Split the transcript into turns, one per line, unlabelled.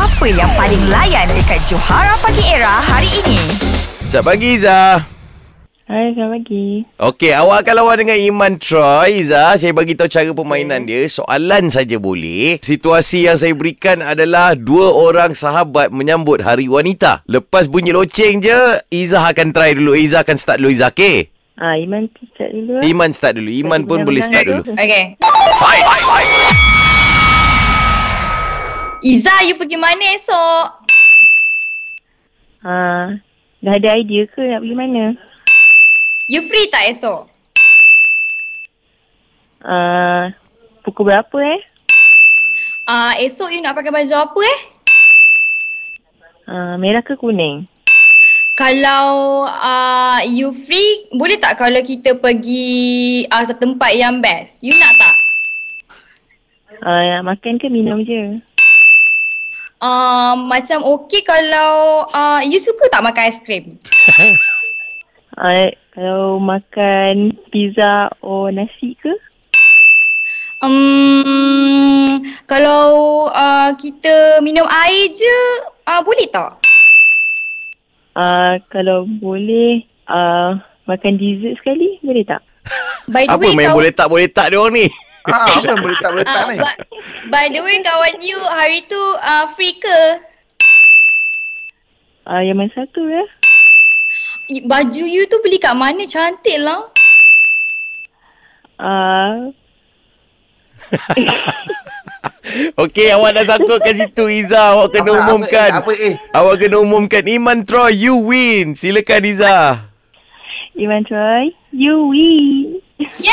Apa yang paling layan dekat Johara Pagi Era hari ini?
Selamat pagi Izzah
Hai, selamat pagi.
Okey, awak akan lawan dengan Iman Troy Izzah, saya bagi tahu cara permainan dia Soalan saja boleh Situasi yang saya berikan adalah Dua orang sahabat menyambut Hari Wanita Lepas bunyi loceng je Izzah akan try dulu Izzah akan start dulu Izzah, okay?
Ah, Iman cakap dulu. ah.
Iman start dulu Iman pun boleh start dulu
Okay.
Fight, fight, fight.
Iza, you pergi mana esok?
Ah, dah ada idea ke nak pergi mana?
You free tak esok?
Ah, pukul berapa eh?
Ah, uh, esok you nak pakai baju apa eh?
Ah, merah ke kuning?
Kalau uh, you free, boleh tak kalau kita pergi uh, satu tempat yang best? You nak tak?
Ah, nak makan ke minum je?
Uh, macam okay kalau uh, you suka tak makan aiskrim?
Ah, kalau makan pizza or nasi ke?
Um, kalau uh, kita minum air je, uh, boleh tak?
Ah, kalau boleh ah makan dessert sekali boleh tak?
By the
Apa
way,
main
kawan-
boleh tak boleh tak dia orang ni
Ah, apa yang boleh tak boleh tak
Ah,
ni?
but, by the way, kawan you hari tu uh, free ke?
Ah, yang mana satu ya?
I- Baju you tu beli kat mana? Cantik lah.
Ah,
Okey, awak dah sangkut kat situ Izzah Awak kena
Apa- apa-
umumkan
Apa eh?
Awak kena umumkan Iman Troy, you win Silakan Izzah
Iman Troy, you win.